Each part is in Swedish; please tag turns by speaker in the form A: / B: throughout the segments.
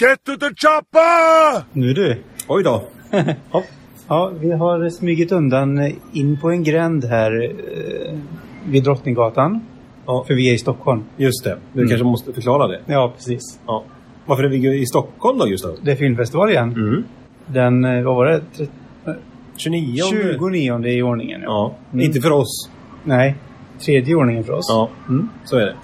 A: Get to the chopper!
B: Nu du.
C: Oj då.
B: Hopp. Ja, vi har smugit undan eh, in på en gränd här eh, vid Drottninggatan.
C: Ja.
B: För vi är i Stockholm.
C: Just det. Du kanske måste förklara det.
B: Mm. Ja, precis.
C: Ja. Varför är vi i Stockholm då just nu?
B: Det är filmfestival igen.
C: Mm.
B: Den, eh, vad var det? Tre-
C: 29
B: 29 i ordningen. Ja.
C: Ja.
B: Mm.
C: Inte för oss.
B: Nej, tredje i ordningen för oss.
C: Ja,
B: Mm.
C: så är det.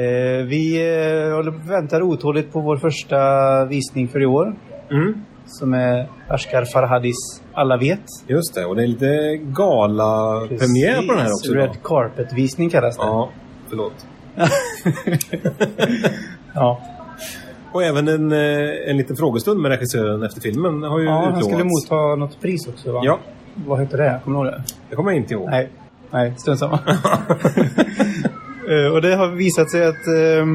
B: Eh, vi eh, håller, väntar otåligt på vår första visning för i år.
C: Mm.
B: Som är Ashkar Farhadis Alla vet.
C: Just det. Och det är lite gala-premiär på den här också. idag.
B: Red Carpet-visning kallas det.
C: Ja, förlåt.
B: Ja.
C: Och även en, eh, en liten frågestund med regissören efter filmen har ju
B: Ja, han
C: utlovats.
B: skulle motta något pris också va?
C: Ja,
B: Vad hette det? Kommer du ihåg det?
C: det kommer jag inte ihåg.
B: Nej, nej, strunt samma. Eh, och det har visat sig att eh,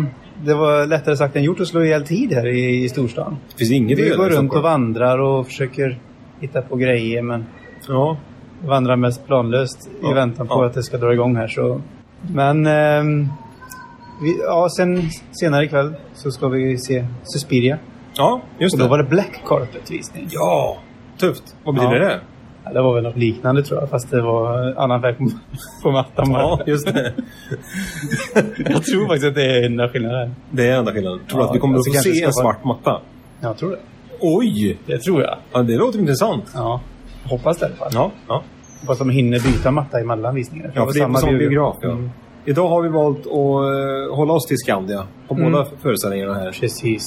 B: det var lättare sagt än gjort att slå ihjäl tid här i, i storstan.
C: Det finns inget att
B: Vi
C: göra
B: går
C: i
B: runt och
C: Stockholm.
B: vandrar och försöker hitta på grejer men
C: Ja,
B: vandrar mest planlöst i
C: Ja,
B: väntan på
C: ja.
B: att det ska dra igång här. Så. Men ehm, vi, ja, sen, senare ikväll så ska vi se Suspiria.
C: ja just
B: Och då
C: det.
B: var det Black Carpet-visning.
C: Ja, tufft. Vad betyder
B: Ja.
C: det?
B: Ja, det var väl något liknande tror jag, fast det var annan färg på, på mattan bara.
C: Ja, just det.
B: Jag tror faktiskt att det är enda skillnaden.
C: Det är enda skillnaden. Tror du
B: Ja,
C: att vi kommer
B: alltså
C: att få
B: kanske
C: se
B: ska
C: en
B: vara-
C: svart matta?
B: Jag tror det.
C: Oj!
B: Det tror jag.
C: Ja, det låter intressant.
B: Ja. Hoppas det i alla fall.
C: Ja, ja.
B: Hoppas de hinner byta matta emellan visningarna.
C: ja för det är på samma biograf. Ja.
B: Mm.
C: Idag har vi valt att eh, hålla oss till Skandia på
B: Mm.
C: båda föreställningarna här.
B: Precis.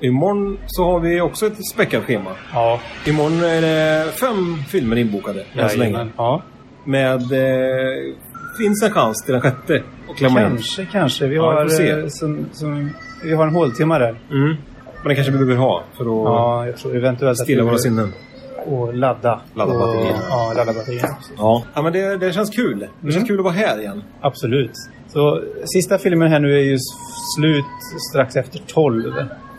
C: Imorgon så har vi också ett späckat schema.
B: Ja.
C: Imorgon är det fem filmer inbokade än så länge.
B: Jajamän. Ja.
C: Med... Eh, finns en chans till den sjätte att klämma in.
B: Kanske, kanske. Vi
C: Ja, vi
B: har,
C: får se.
B: eh, som, som, vi har en håltimme där.
C: Mm. Men det kanske vi behöver ha för att
B: Ja, jag tror eventuellt
C: stilla
B: att vi-
C: våra sinnen.
B: Och ladda.
C: Ladda
B: och,
C: batterierna.
B: Ja, ladda batterierna.
C: Ja. ja men det, det känns kul. Det
B: Mm.
C: känns kul att vara här igen.
B: Absolut. Så sista filmen här nu är ju s- slut strax efter tolv.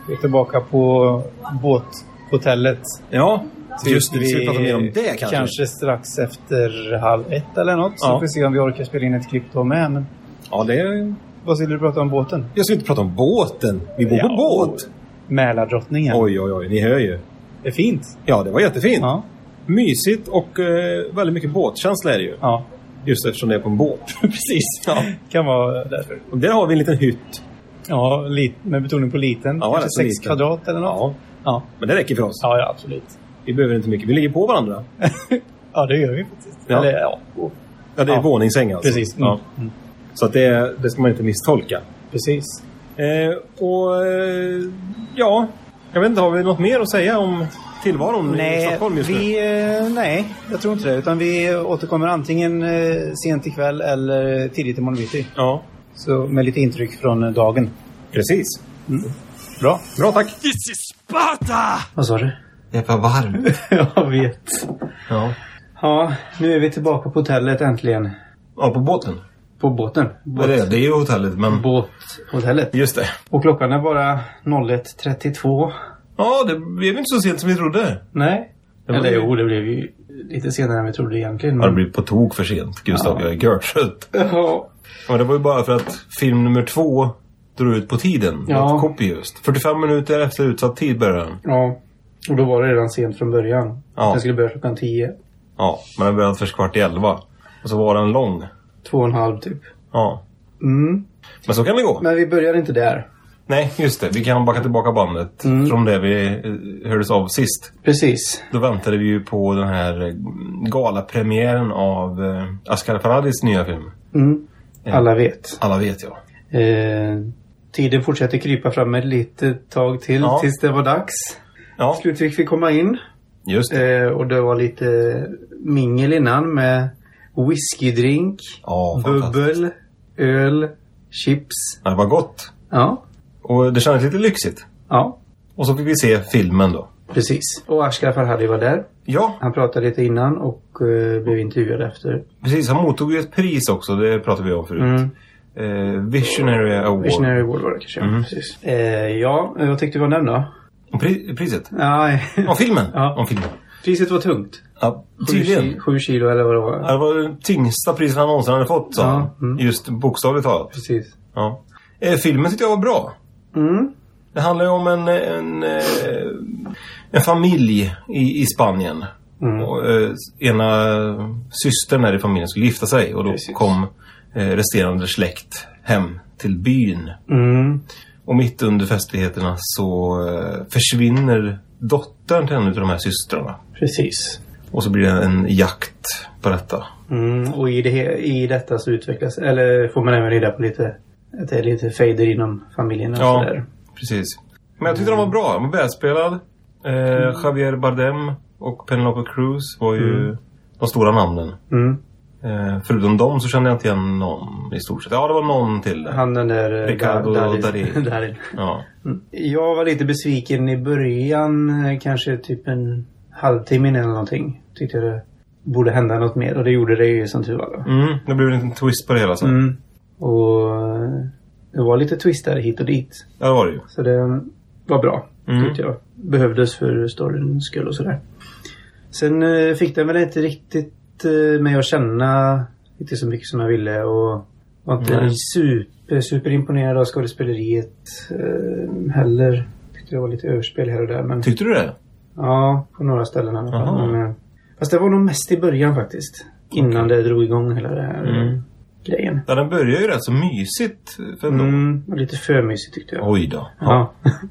B: Vi är tillbaka på båthotellet.
C: Ja, just det. Vi ska
B: Vi-
C: prata mer om det kanske.
B: strax efter halv ett eller något. Så
C: Ja.
B: får vi se om vi orkar spela in ett klipp då med. Men
C: Ja, det är...
B: vad skulle du prata om båten?
C: Jag ska inte prata om båten. Vi bor på
B: Ja.
C: båt.
B: Mälardrottningen.
C: Oj, oj, oj. Ni hör ju.
B: Det är fint.
C: Ja, det var jättefint.
B: Ja.
C: Mysigt och eh, väldigt mycket båtkänsla är det ju.
B: ja.
C: Just eftersom det är på en båt.
B: Precis. Ja. Kan vara därför.
C: Och där har vi en liten hytt.
B: Ja, lit, med betoning på liten.
C: Ja,
B: Kanske
C: rätt så
B: sex
C: liten.
B: kvadrat eller något.
C: Ja,
B: Ja.
C: men det räcker för oss.
B: Ja, ja, absolut.
C: Vi behöver inte mycket. Vi ligger på varandra.
B: Ja, det gör vi faktiskt.
C: Ja.
B: Eller, ja.
C: Ja, det är
B: Ja.
C: våningssäng alltså.
B: Precis. Mm.
C: Ja.
B: Mm.
C: Så att det, det ska man inte misstolka.
B: Precis.
C: Eh, och eh, ja, jag vet inte, har vi något mer att säga om tillvaron i
B: Nej,
C: Stockholm just nu?
B: vi, eh, nej, jag tror inte det. Utan vi återkommer antingen eh, sent ikväll eller tidigt imorgon bitti.
C: Ja,
B: Så med lite intryck från eh, dagen.
C: precis.
B: Mm. Bra.
C: Bra, tack.
A: This is Sparta!
B: Vad sa du?
D: Det var varmt.
B: jag vet.
D: Ja.
B: Ja, nu är vi tillbaka på hotellet äntligen.
D: ja, på båten.
B: På båten.
D: Vad är det? Det är ju hotellet, men...
B: Båthotellet.
D: Just det.
B: Och klockan är bara 01.32.
D: Ja, det blev inte så sent som vi trodde.
B: Nej.
D: Det var
B: Eller
D: ju-
B: jo, det blev ju lite senare än vi trodde egentligen.
D: Ja, det blev på tok för sent, Gustav. Jag är görtrött.
B: Ja.
D: Ja, det var ju bara för att film nummer två drog ut på tiden.
B: Ja.
D: Något Kopiöst. 45 minuter efter utsatt tid började den.
B: ja. Och då var det redan sent från början.
D: Ja.
B: Den skulle börja klockan 10.
D: Ja, men den började först kvart i elva. Och så var den lång.
B: Två och en halv typ.
D: Ja.
B: Mm.
D: Men så kan det gå.
B: Men vi börjar inte där.
D: Nej, just det. Vi kan backa tillbaka bandet
B: Mm.
D: från det vi eh, hördes av sist.
B: Precis.
D: Då väntade vi ju på den här eh, galapremiären av eh, Asghar Farhadis nya film.
B: Mm.
D: Ja.
B: Alla vet.
D: Alla vet jag.
B: Eh, tiden fortsätter krypa fram ett litet tag till
D: Ja.
B: tills det var dags.
D: Ja,
B: Slutligen fick vi komma in
D: just det.
B: eh, och det var lite mingel innan med whiskydrink,
D: Ja, fantastiskt.
B: bubbel, öl, chips.
D: Ja, Det var gott.
B: Ja,
D: Och det kändes lite lyxigt.
B: ja
D: Och så fick vi se filmen då.
B: precis. Och Ashraf Farhadi var där.
D: Ja,
B: Han pratade lite innan och eh, blev intervjuad efter.
D: Precis, han mottog ju ett pris också. Det pratade vi om förut.
B: Mm.
D: Eh, Visionary Award.
B: Visionary Award var det kanske. ja,
D: Mm.
B: Precis. Eh, ja, eh, vad tyckte du om den då?
D: Om pri- priset?
B: Nej.
D: Om filmen?
B: Ja.
D: Om filmen.
B: Priset var tungt.
D: Ja,
B: Sju
D: tydligen.
B: ki- Sju kilo eller vad det var.
D: Ja, Det var det tyngsta priset han någonsin hade fått, sa
B: Ja,
D: han.
B: mm.
D: Just bokstavligt talat.
B: Precis.
D: Ja. Eh, filmen tyckte jag var bra.
B: Mm.
D: Den Det handlar ju om en, en, eh, en familj i, i Spanien. Och, eh, ena systern här i familjen skulle gifta sig och då
B: Precis.
D: kom eh, resterande släkt hem till byn.
B: Mm.
D: Och mitt under festligheterna så eh, försvinner dottern till en av de här systrarna.
B: Precis.
D: Och så blir det en jakt på detta.
B: Mm, och i, det, he- i detta så utvecklas, eller får man även reda på lite, att det är lite fejder inom familjen och
D: Ja.
B: sådär.
D: Precis. Men jag tyckte den var bra. Den var välspelad. Eh,
B: Mm.
D: Javier Bardem och Penelope Cruz var ju de stora namnen.
B: Mm.
D: Eh, förutom dem så kände jag inte igen någon i stort sett. Ja, det var någon till. där.
B: Han den där... eh,
D: Ricardo
B: Dar-
D: Darin.
B: Darin. Mm.
D: Ja.
B: Jag var lite besviken i början, eh, kanske typ en halvtimme in eller någonting. Tyckte jag det borde hända något mer och det gjorde det ju som tur var. då.
D: Mm, det blev en liten twist på det hela sen.
B: Mm. Och eh, det var lite twistar hit och dit.
D: Ja, det var det ju.
B: Så det var bra,
D: Mm.
B: tyckte jag. Behövdes för storyns skull och sådär. Sen eh, fick den väl inte riktigt eh, mig att känna inte så mycket som jag ville och var inte
D: Nej.
B: super, superimponerad av skådespeleriet eh, heller. Tyckte det var lite överspel här och där. Men,
D: Tyckte du det?
B: ja, på några ställen i alla
D: Aha.
B: fall. Men, eh, fast det var nog mest i början faktiskt. Innan det drog igång hela den här eh,
D: Mm.
B: grejen.
D: Ja, den börjar ju rätt så mysigt. För ändå.
B: Mm, och lite för mysigt tyckte jag.
D: Oj då. Ja.
B: Ja.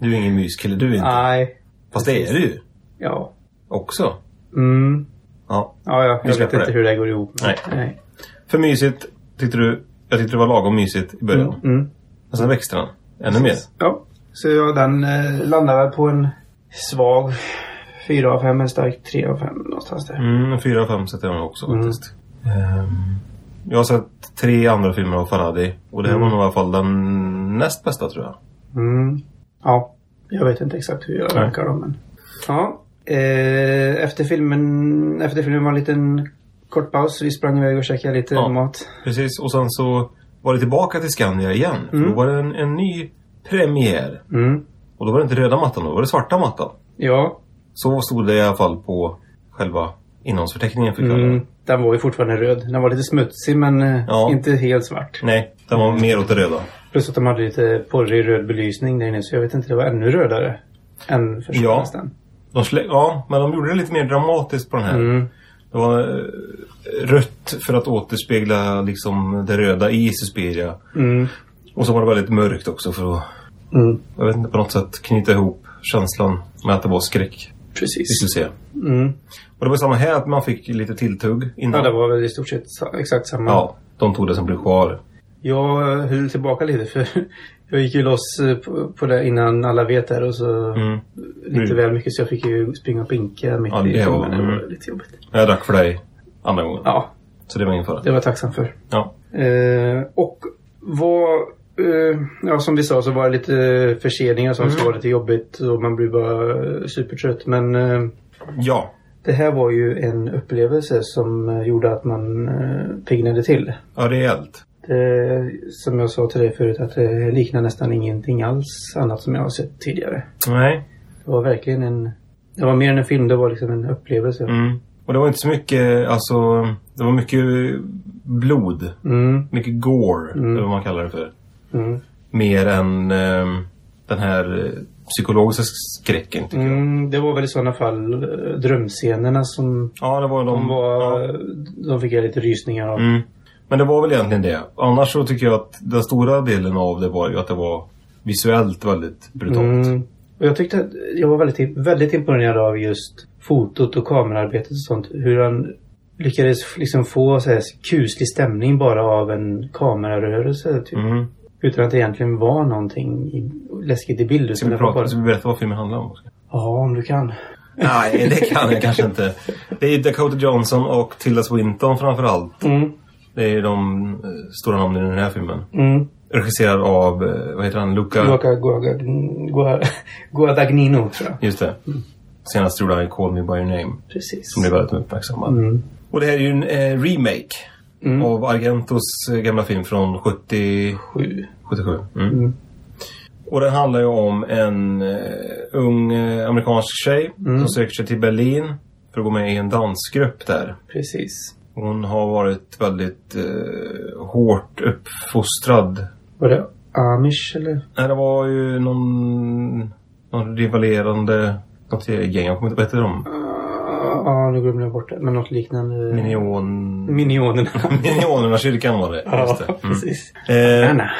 D: Du är ingen myskille du inte.
B: Nej.
D: Fast det är du ju
B: Ja.
D: också.
B: Mm.
D: Ja.
B: Ja, ja.
D: Vi
B: jag vet
D: släpper
B: inte
D: det.
B: hur det går ihop.
D: Nej. För mysigt tyckte du... Jag tyckte det var lagom mysigt i början.
B: Mm.
D: Men sen växte den ännu mer.
B: Ja, så ja, den eh, landar väl på en svag 4 av 5, en stark 3 av 5 någonstans där.
D: Mm, fyra av fem sätter jag nog också
B: Mm.
D: faktiskt. Ehm, jag har sett tre andra filmer av Farhadi och det här var nog i alla fall den näst bästa tror jag.
B: Mm. Ja, jag vet inte exakt hur jag
D: Nej.
B: rankar dem. Men... Ja, eh, efter, filmen, efter filmen var en liten kort paus. Vi sprang iväg och käkade lite
D: Ja.
B: mat.
D: Precis, och sen så var det tillbaka till Skandia igen. För
B: Mm.
D: då var det en, en ny premiär.
B: Mm.
D: Och då var det inte röda mattan, då var det svarta mattan.
B: Ja,
D: Så stod det i alla fall på själva innehållsförteckningen för kvällen.
B: mm. den var ju fortfarande röd. Den var lite smutsig men eh,
D: Ja.
B: inte helt svart.
D: Nej, den var mer åt det röda.
B: Plus att de hade lite porrig röd belysning där inne så jag vet inte, det var ännu rödare än första
D: Ja.
B: nästan.
D: De slä- ja, men de gjorde det lite mer dramatiskt på den här.
B: Mm.
D: Det var eh, rött för att återspegla liksom det röda i Suspiria.
B: Mm.
D: Och så var det väldigt mörkt också för att,
B: Mm.
D: jag vet inte, på något sätt knyta ihop känslan med att det var skräck. Vi
B: Precis.
D: skulle se.
B: Mm.
D: Och det var samma här, att man fick lite tilltugg
B: Ja,
D: innan.
B: det var väl i stort sett sa- exakt samma.
D: Ja, de tog det som blev kvar.
B: Jag höll tillbaka lite för jag gick ju loss eh, på, på det innan alla vet det och så
D: Mm.
B: lite
D: Mm.
B: väl mycket så jag fick ju springa och pinka mitt
D: Ja,
B: i
D: det var-
B: filmen. Det var
D: mm.
B: lite jobbigt.
D: Jag drack för dig andra gången.
B: Ja,
D: Så det var ingen fara.
B: det var jag tacksam för.
D: Ja.
B: Eh, och vad... Eh, ja, som vi sa så var det lite eh, förseningar och sånt
D: Mm.
B: som var lite jobbigt och man blir bara eh, supertrött. Men eh,
D: ja.
B: det här var ju en upplevelse som eh, gjorde att man eh, piggnade till.
D: Ja, rejält.
B: Det, som jag sa till dig förut att det liknar nästan ingenting alls annat som jag har sett tidigare.
D: Nej.
B: Det var verkligen en... Det var mer än en film, det var liksom en upplevelse.
D: Mm. Och det var inte så mycket, alltså, det var mycket blod.
B: Mm,
D: Mycket gore,
B: Mm.
D: eller vad man kallar det för.
B: mm,
D: Mer än ehm, den här eh, psykologiska skräcken tycker jag.
B: mm, det var väl i sådana fall eh, drömscenerna som
D: Ja, det var de.
B: De, var,
D: ja.
B: de fick jag lite rysningar av.
D: mm. Men det var väl egentligen det. Annars så tycker jag att den stora delen av det var ju att det var visuellt väldigt brutalt.
B: Mm. Och jag tyckte att jag var väldigt, väldigt imponerad av just fotot och kamerarbetet och sånt. Hur han lyckades liksom få så här kuslig stämning bara av en kamerarörelse. Typ.
D: Mm.
B: Utan att det egentligen var någonting i, läskigt i bild.
D: Ska,
B: Utan
D: vi
B: det var
D: prata,
B: bara,
D: ska vi berätta vad filmen handlar om?
B: ja, om du kan.
D: Nej, det kan jag kanske inte. Det är Dakota Johnson och Tilda Swinton framförallt.
B: Mm,
D: Det är ju de eh, stora namnen i den här filmen.
B: mm.
D: Regisserad av, eh, vad heter han, Luca?
B: Luca Guadag- Gua- Guadagnino, tror jag.
D: Just det. Senast gjorde han Call Me By Your Name,
B: Precis.
D: som blev väldigt uppmärksammad.
B: Mm.
D: Och det här är ju en eh, remake
B: Mm.
D: av Argentos eh, gamla film från 70...
B: Sju.
D: 77. Mm. Och den handlar ju om en eh, ung eh, amerikansk tjej
B: Mm.
D: som söker sig till Berlin för att gå med i en dansgrupp där.
B: Precis.
D: Hon har varit väldigt eh, hårt uppfostrad.
B: Var det amish eller?
D: Nej, det var ju någon, någon rivalerande... Något gäng. Jag kommer inte... Vad heter de?
B: Ja, ah, nu glömde jag bort det. Men något liknande.
D: Minion...
B: Minionerna.
D: Minionerna kyrkan var det.
B: Mm. ja,
D: Just det. Mm.
B: precis.
D: Eh,
B: Anna.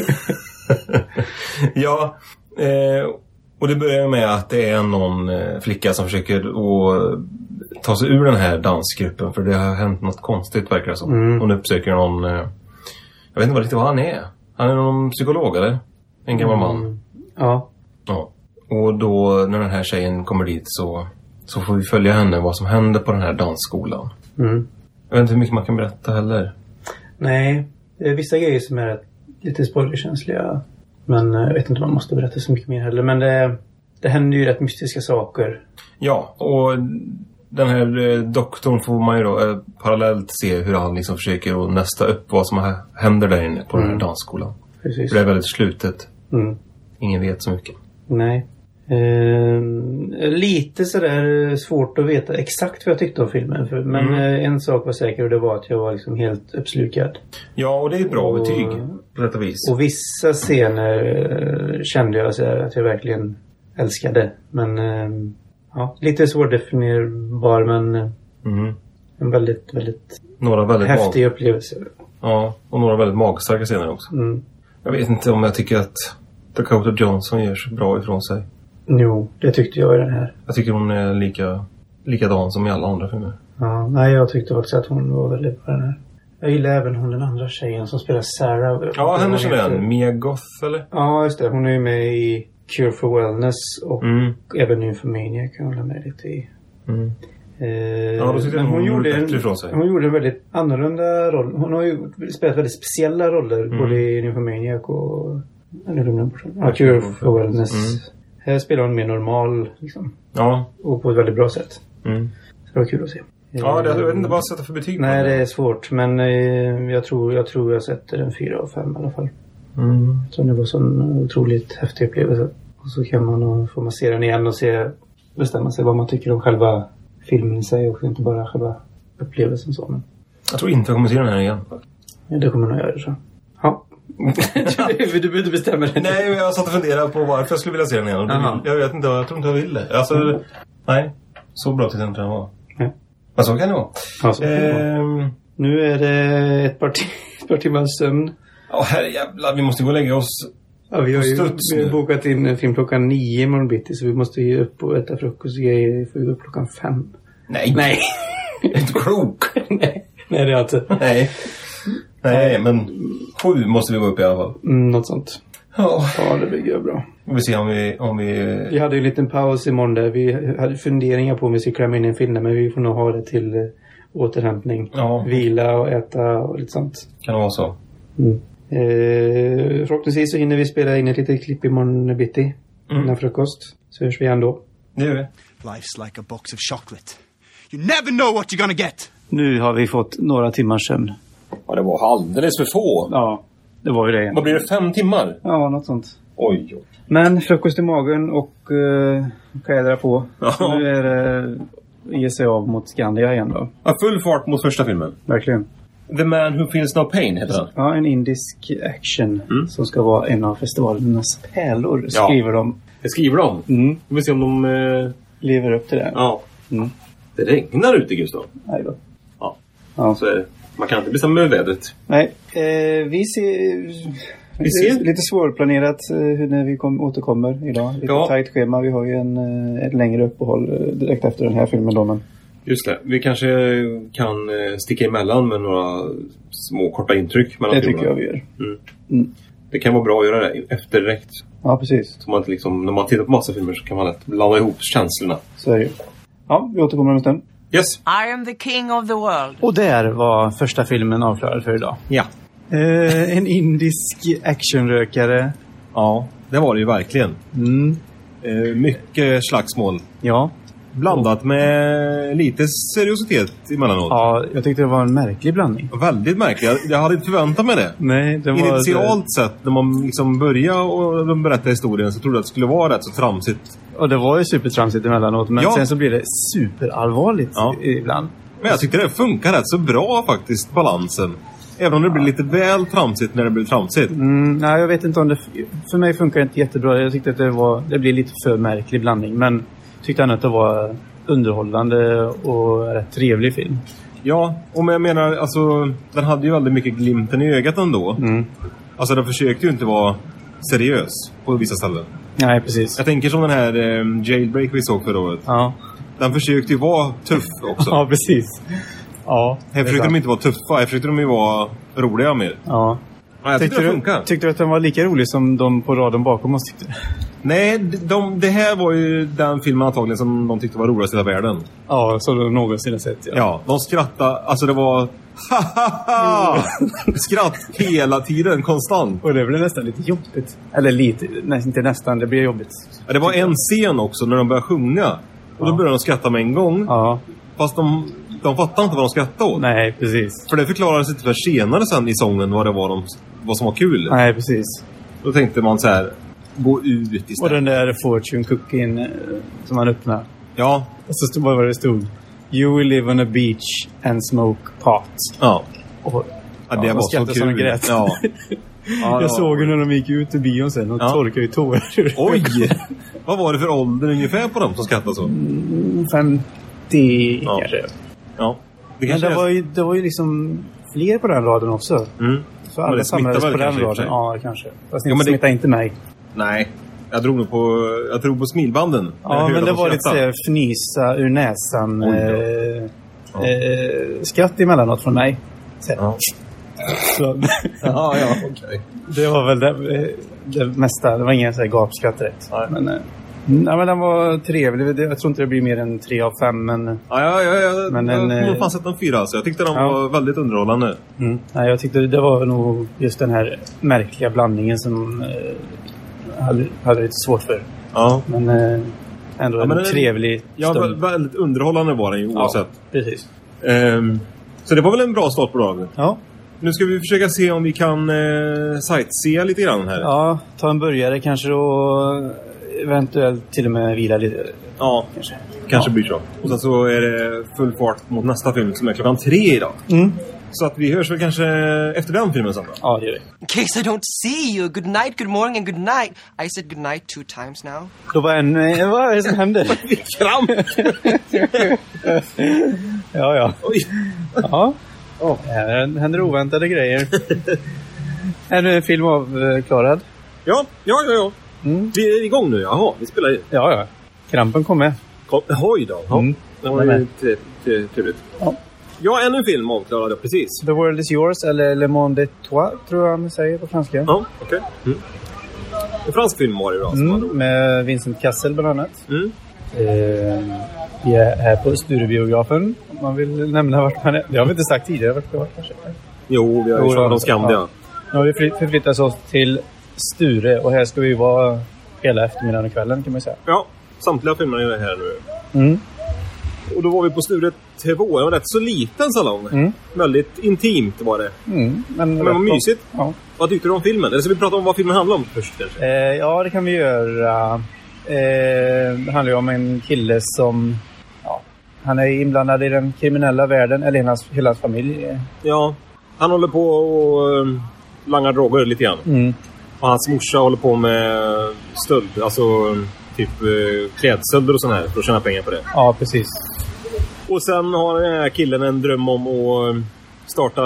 D: ja, eh, och det börjar med att det är någon eh, flicka som försöker att ta sig ur den här dansgruppen. För det har hänt något konstigt verkar det som.
B: Mm.
D: Hon uppsöker någon... Eh, jag vet inte vad riktigt vad han är. Han är någon psykolog eller? En gammal
B: Mm.
D: man.
B: Ja.
D: Ja. Och då när den här tjejen kommer dit så, så får vi följa henne vad som händer på den här dansskolan.
B: Mm.
D: Jag vet inte hur mycket man kan berätta heller.
B: Nej, det är vissa grejer som är rätt- lite spoilerkänsliga. Men eh, jag vet inte om man måste berätta så mycket mer heller. Men det, det händer ju rätt mystiska saker.
D: Ja, och den här eh, doktorn får man ju då eh, parallellt se hur han liksom försöker att nästa upp vad som hä- händer där inne på den
B: Mm.
D: här dansskolan.
B: Precis.
D: För det är väldigt slutet.
B: Mm.
D: Ingen vet så mycket.
B: Nej. Ehm, lite sådär svårt att veta exakt vad jag tyckte om filmen. För, men
D: Mm.
B: eh, en sak var säker och det var att jag var liksom helt uppslukad.
D: Ja, och det är ett bra
B: Och-
D: betyg på sätt och vis.
B: Och vissa scener eh, kände jag så här att jag verkligen älskade. Men eh, ja, lite svårdefinierbar men eh,
D: Mm.
B: en väldigt, väldigt
D: Några väldigt
B: häftig
D: mag-
B: upplevelse.
D: ja, och några väldigt magstarka scener också.
B: Mm.
D: Jag vet inte om jag tycker att Dakota Johnson gör så bra ifrån sig.
B: Jo, det tyckte jag i den här.
D: Jag tycker hon är lika, likadan som i alla andra filmer.
B: Ja, nej, jag tyckte också att hon var väldigt bra i den här. Jag gillar även hon den andra tjejen som spelar Sarah.
D: Ja, henne
B: Hon
D: känner jag
B: heter-
D: igen. Mia Goth, eller?
B: Ja, just det. Hon är ju med i Cure for Wellness och
D: Mm.
B: även Nymphomania kan jag hålla med lite i.
D: Mm.
B: Eh,
D: då tyckte jag
B: men
D: hon gjorde
B: en-
D: bättre ifrån sig.
B: Hon gjorde en väldigt annorlunda roll. Hon har ju spelat väldigt speciella roller både i Nymphomania och... Ja, nu glömde jag bort den. Ja, Cure for Wellness. Här spelar hon mer normal liksom.
D: Ja.
B: Och på ett väldigt bra sätt.
D: Mm.
B: Så det var kul att se.
D: Ja, det, jag vet
B: Eh,
D: inte vad jag sätter för betyg på
B: Nej,
D: den.
B: det är svårt. Men eh, jag, tror, jag tror jag sätter en fyra av fem i alla fall.
D: Mm.
B: Så det var en sån otroligt häftig upplevelse. Och så kan man, och får man se den igen och se, bestämma sig vad man tycker om själva filmen i sig och inte bara själva upplevelsen. Så. Men
D: Jag tror inte jag kommer se den här igen.
B: ja, det kommer jag nog göra. Så. Ja. du behöver inte bestämma dig.
D: Nej, men jag satt och funderade på varför jag skulle vilja se den igen. Och det-
B: Jaha.
D: Jag vet inte, jag tror inte jag vill det. Alltså, nej. Så bra tyckte jag inte den var.
B: Nej.
D: Men så kan det vara.
B: Alltså,
D: Ehm,
B: Nu är det ett par, ti- ett par timmars sömn.
D: Ja, herrejävlar. Vi måste gå och lägga oss.
B: Ja, vi har ju
D: Studs
B: vi har
D: nu.
B: bokat in en film klockan nio imorgon bitti så vi måste ju upp och äta frukost och grejer. Vi får ju gå upp klockan fem.
D: Nej.
B: Nej.
D: Jag är inte klok.
B: Nej, Nej det alltså, har jag inte.
D: Nej. Nej, men sju måste vi gå upp i alla fall.
B: Mm, något sånt.
D: Ja.
B: Ja, det blir ju bra.
D: Vi får se om vi... Om vi
B: Vi hade ju en liten paus i måndag. Vi hade funderingar på om vi skulle klämma in en film där, men vi får nog ha det till eh, återhämtning.
D: ja,
B: Vila och äta och lite sånt.
D: kan det vara så.
B: Eh, förhoppningsvis så hinner vi spela in ett litet klipp imorgon bitti
D: Mm.
B: innan frukost. Så hörs vi igen då.
D: Det gör vi.
A: Life's like a box of chocolate. You never know what you're gonna get.
B: Nu har vi fått några timmars sömn.
D: Ja, det var alldeles för få.
B: Ja, det var ju det.
D: Vad blir det? Fem timmar?
B: Ja, något sånt.
D: Oj, oj.
B: Men frukost i magen och eh, kläder på.
D: Ja.
B: Nu är det eh, ge sig av mot Skandia igen då.
D: Ja, full fart mot första filmen.
B: Verkligen.
D: The Man Who Feels No Pain heter den.
B: Ja, en indisk action
E: Mm.
B: som ska vara en av festivalernas pärlor,
D: Ja.
B: skriver de.
E: Det skriver de.
B: Mm.
E: Vi får se om de... Eh,
B: Lever upp till det.
E: ja.
B: Mm.
E: Det regnar ute, Gustav.
B: Nej då.
E: Ja.
B: Ja.
E: Så är det. Man kan inte bestämma över vädret.
B: Nej, eh, vi ser...
E: Vi ser.
B: Lite svårplanerat eh, hur- när vi kom, återkommer idag. Lite
E: Ja.
B: tajt schema. Vi har ju en, eh, ett längre uppehåll eh, direkt efter den här filmen då. Men...
E: Just det. Vi kanske kan eh, sticka emellan med några små korta intryck. mellan
B: Det tycker
E: filmerna.
B: jag vi gör.
E: Det kan vara bra att göra det efter direkt.
B: Ja, precis.
E: Så man inte liksom, när man tittar på massa filmer så kan man lätt blanda ihop känslorna.
B: Så är det ju. Ja, vi återkommer om en stund.
E: Yes.
F: I am the king of the world.
B: Och där var första filmen avklarad för idag.
E: Ja.
B: Eh, en indisk actionrökare.
E: Ja, det var det ju verkligen.
B: Mm,
E: Eh, mycket slagsmål.
B: ja.
E: Blandat med lite seriositet emellanåt.
B: ja, jag tyckte det var en märklig blandning.
E: Väldigt märkligt. Jag, jag hade inte förväntat mig det.
B: Nej, det var...
E: Initialt sett, när man liksom började och de berättade historien så trodde jag att det skulle vara rätt så tramsigt.
B: Och det var ju supertramsigt emellanåt, men
E: Ja.
B: sen så blir det superallvarligt
E: Ja.
B: ibland.
E: Men jag tyckte det funkar rätt så bra faktiskt, balansen. Även om det blir lite väl tramsigt när det blir tramsigt.
B: Mm, nej, jag vet inte om det... För mig funkar det inte jättebra. Jag tyckte att det, var, det blev lite för märklig blandning. Men tyckte ändå att det var underhållande och rätt trevlig film.
E: Ja, och men jag menar alltså den hade ju väldigt mycket glimten i ögat ändå.
B: Mm.
E: Alltså den försökte ju inte vara seriös på vissa ställen.
B: Nej, precis.
E: Jag tänker som den här eh, Jailbreak vi såg förra året.
B: Ja,
E: Den försökte ju vara tuff också.
B: ja precis. Ja,
E: Här försökte de inte vara tuffa, här försökte de ju vara roliga mer.
B: Ja.
E: Ja, jag tyckte
B: Tyckte
E: det
B: du,
E: funkar.
B: tyckte du att den var lika rolig som de på raden bakom oss tyckte?
E: Nej, de, de, det här var ju den filmen antagligen som de tyckte var roligast i hela världen.
B: Ja, som de någonsin har sett. Ja.
E: Ja, de skrattade. Alltså det var... Skratt hela tiden, konstant.
B: Och det blev nästan lite jobbigt. Eller lite, nej, inte nästan. Det blev jobbigt.
E: Ja, Det var en scen också när de började sjunga. Och då började de skratta med en gång.
B: Ja,
E: Fast de, de fattade inte vad de skrattade åt.
B: nej, precis.
E: För det förklarades inte för senare sen i sången vad det var de, vad som var kul.
B: Nej, precis.
E: Då tänkte man så här, gå ut
B: Och
E: istället.
B: den där fortune cooking eh, som han öppnade.
E: Ja,
B: Och så stod, vad var det stod? You will live on a beach and smoke pot.
E: ja.
B: Och
E: ja det
B: de
E: var så
B: skrattade
E: kul.
B: så de grät.
E: Ja. Ja, ja.
B: jag såg ju när de gick ut ur bion sen och
E: Ja.
B: torkade ju tårar ur
E: Oj! Vad var det för ålder ungefär på dem som skrattade så?
B: 50
E: Ja.
B: kanske.
E: Ja. Det
B: Men
E: kanske
B: det
E: är
B: var, ju, det var ju liksom fler på den raden också.
E: Mm.
B: Så
E: Men
B: alla
E: det
B: samlades
E: smittar
B: på
E: väl
B: den
E: kanske i
B: raden.
E: och för sig.
B: Ja, kanske. Fast ni
E: men det-
B: smittade inte mig.
E: Nej. Jag drog nog på, jag drog på smilbanden. när jag
B: Ja,
E: hörde
B: men det
E: dem
B: var lite
E: skratta.
B: såhär fnysa ur näsan.
E: Oj då.
B: Eh, eh, skratt emellanåt från mig. Så,
E: Ja.
B: så,
E: Ja, ja, okej.
B: det var väl det, eh, det mesta. Det var ingen så här gapskratt direkt.
E: Nej.
B: Men, eh, nej, men den var trevlig. Det- Jag tror inte det blir mer än tre av fem. Men eh,
E: Ja, ja, ja, ja.
B: Men
E: Men
B: den,
E: jag
B: eh,
E: kommer fan sätta en fyra alltså. Jag tyckte den
B: ja.
E: var väldigt underhållande.
B: mm, nej, jag tyckte det var nog just den här märkliga blandningen som eh, hade, hade lite svårt för.
E: Ja.
B: Men eh, ändå
E: men
B: en
E: det-
B: trevlig
E: Ja, vä-
B: stund.
E: väldigt underhållande var den ju oavsett.
B: precis.
E: Ehm, så det var väl en bra start på dagen.
B: Ja.
E: Nu ska vi försöka se om vi kan eh, sightsea lite grann här.
B: ja, ta en burgare kanske och eventuellt till och med vila lite.
E: Ja,
B: Kanske.
E: kanske blir så. Och sen så är det full fart mot nästa film som är klockan tre idag.
B: Mm.
E: Så att vi hörs väl kanske efter den filmen sen då.
B: Ja, det gör vi.
F: In case I don't see you, good night, good morning, and good night. I said good night two times now.
B: Då var en... eh, Vad är det som händer?
E: Kramp!
B: ja, ja.
E: Oj.
B: ja. Här händer oväntade grejer. är nu en film avklarad?
E: Ja, ja, ja. ja.
B: Mm.
E: Vi är igång nu. Jaha, vi spelar in.
B: Ja, ja. Krampen kom med.
E: Kom, hoj då. Ja.
B: Mm.
E: Det var
B: Nej,
E: ju tre- tre- trevligt.
B: Ja.
E: Ja, ännu en film avklarad, ja, precis.
B: The World Is Yours, eller Le Monde de Toi, tror jag man säger på franska.
E: Ja, okej. Mm. En fransk film var det ju då. som var
B: Mm,
E: rolig.
B: med Vincent Cassel bland annat.
E: Mm.
B: Eh, vi är här på Sturebiografen. Om man vill nämna vart man är. Det har vi inte sagt tidigare vart vi har varit kanske.
E: Jo,
B: Jo,
E: vi har ju
B: det har
E: pratat
B: vi.
E: om Skandia.
B: Ja. Nu har vi fly- förflyttat oss till Sture och här ska vi vara hela eftermiddagen och kvällen kan man säga.
E: Ja, samtliga filmer är här nu.
B: Mm.
E: Och då var vi på Sture 2. Det var rätt så liten salong.
B: Mm.
E: Väldigt intimt var det.
B: Mm, men
E: Men vad mysigt.
B: Ja.
E: Vad tyckte du om filmen? Eller ska vi prata om vad filmen handlar om först kanske?
B: Eh, ja, det kan vi göra. Eh, det handlar ju om en kille som... Ja, han är inblandad i den kriminella världen, eller hela, hela hans familj. eh.
E: Ja, han håller på och eh, langar droger lite grann.
B: Mm.
E: Och hans morsa håller på med stöld. Alltså typ eh, klädstölder och sånt här för att tjäna pengar på det.
B: Ja, precis.
E: Och sen har den här killen en dröm om att eh, starta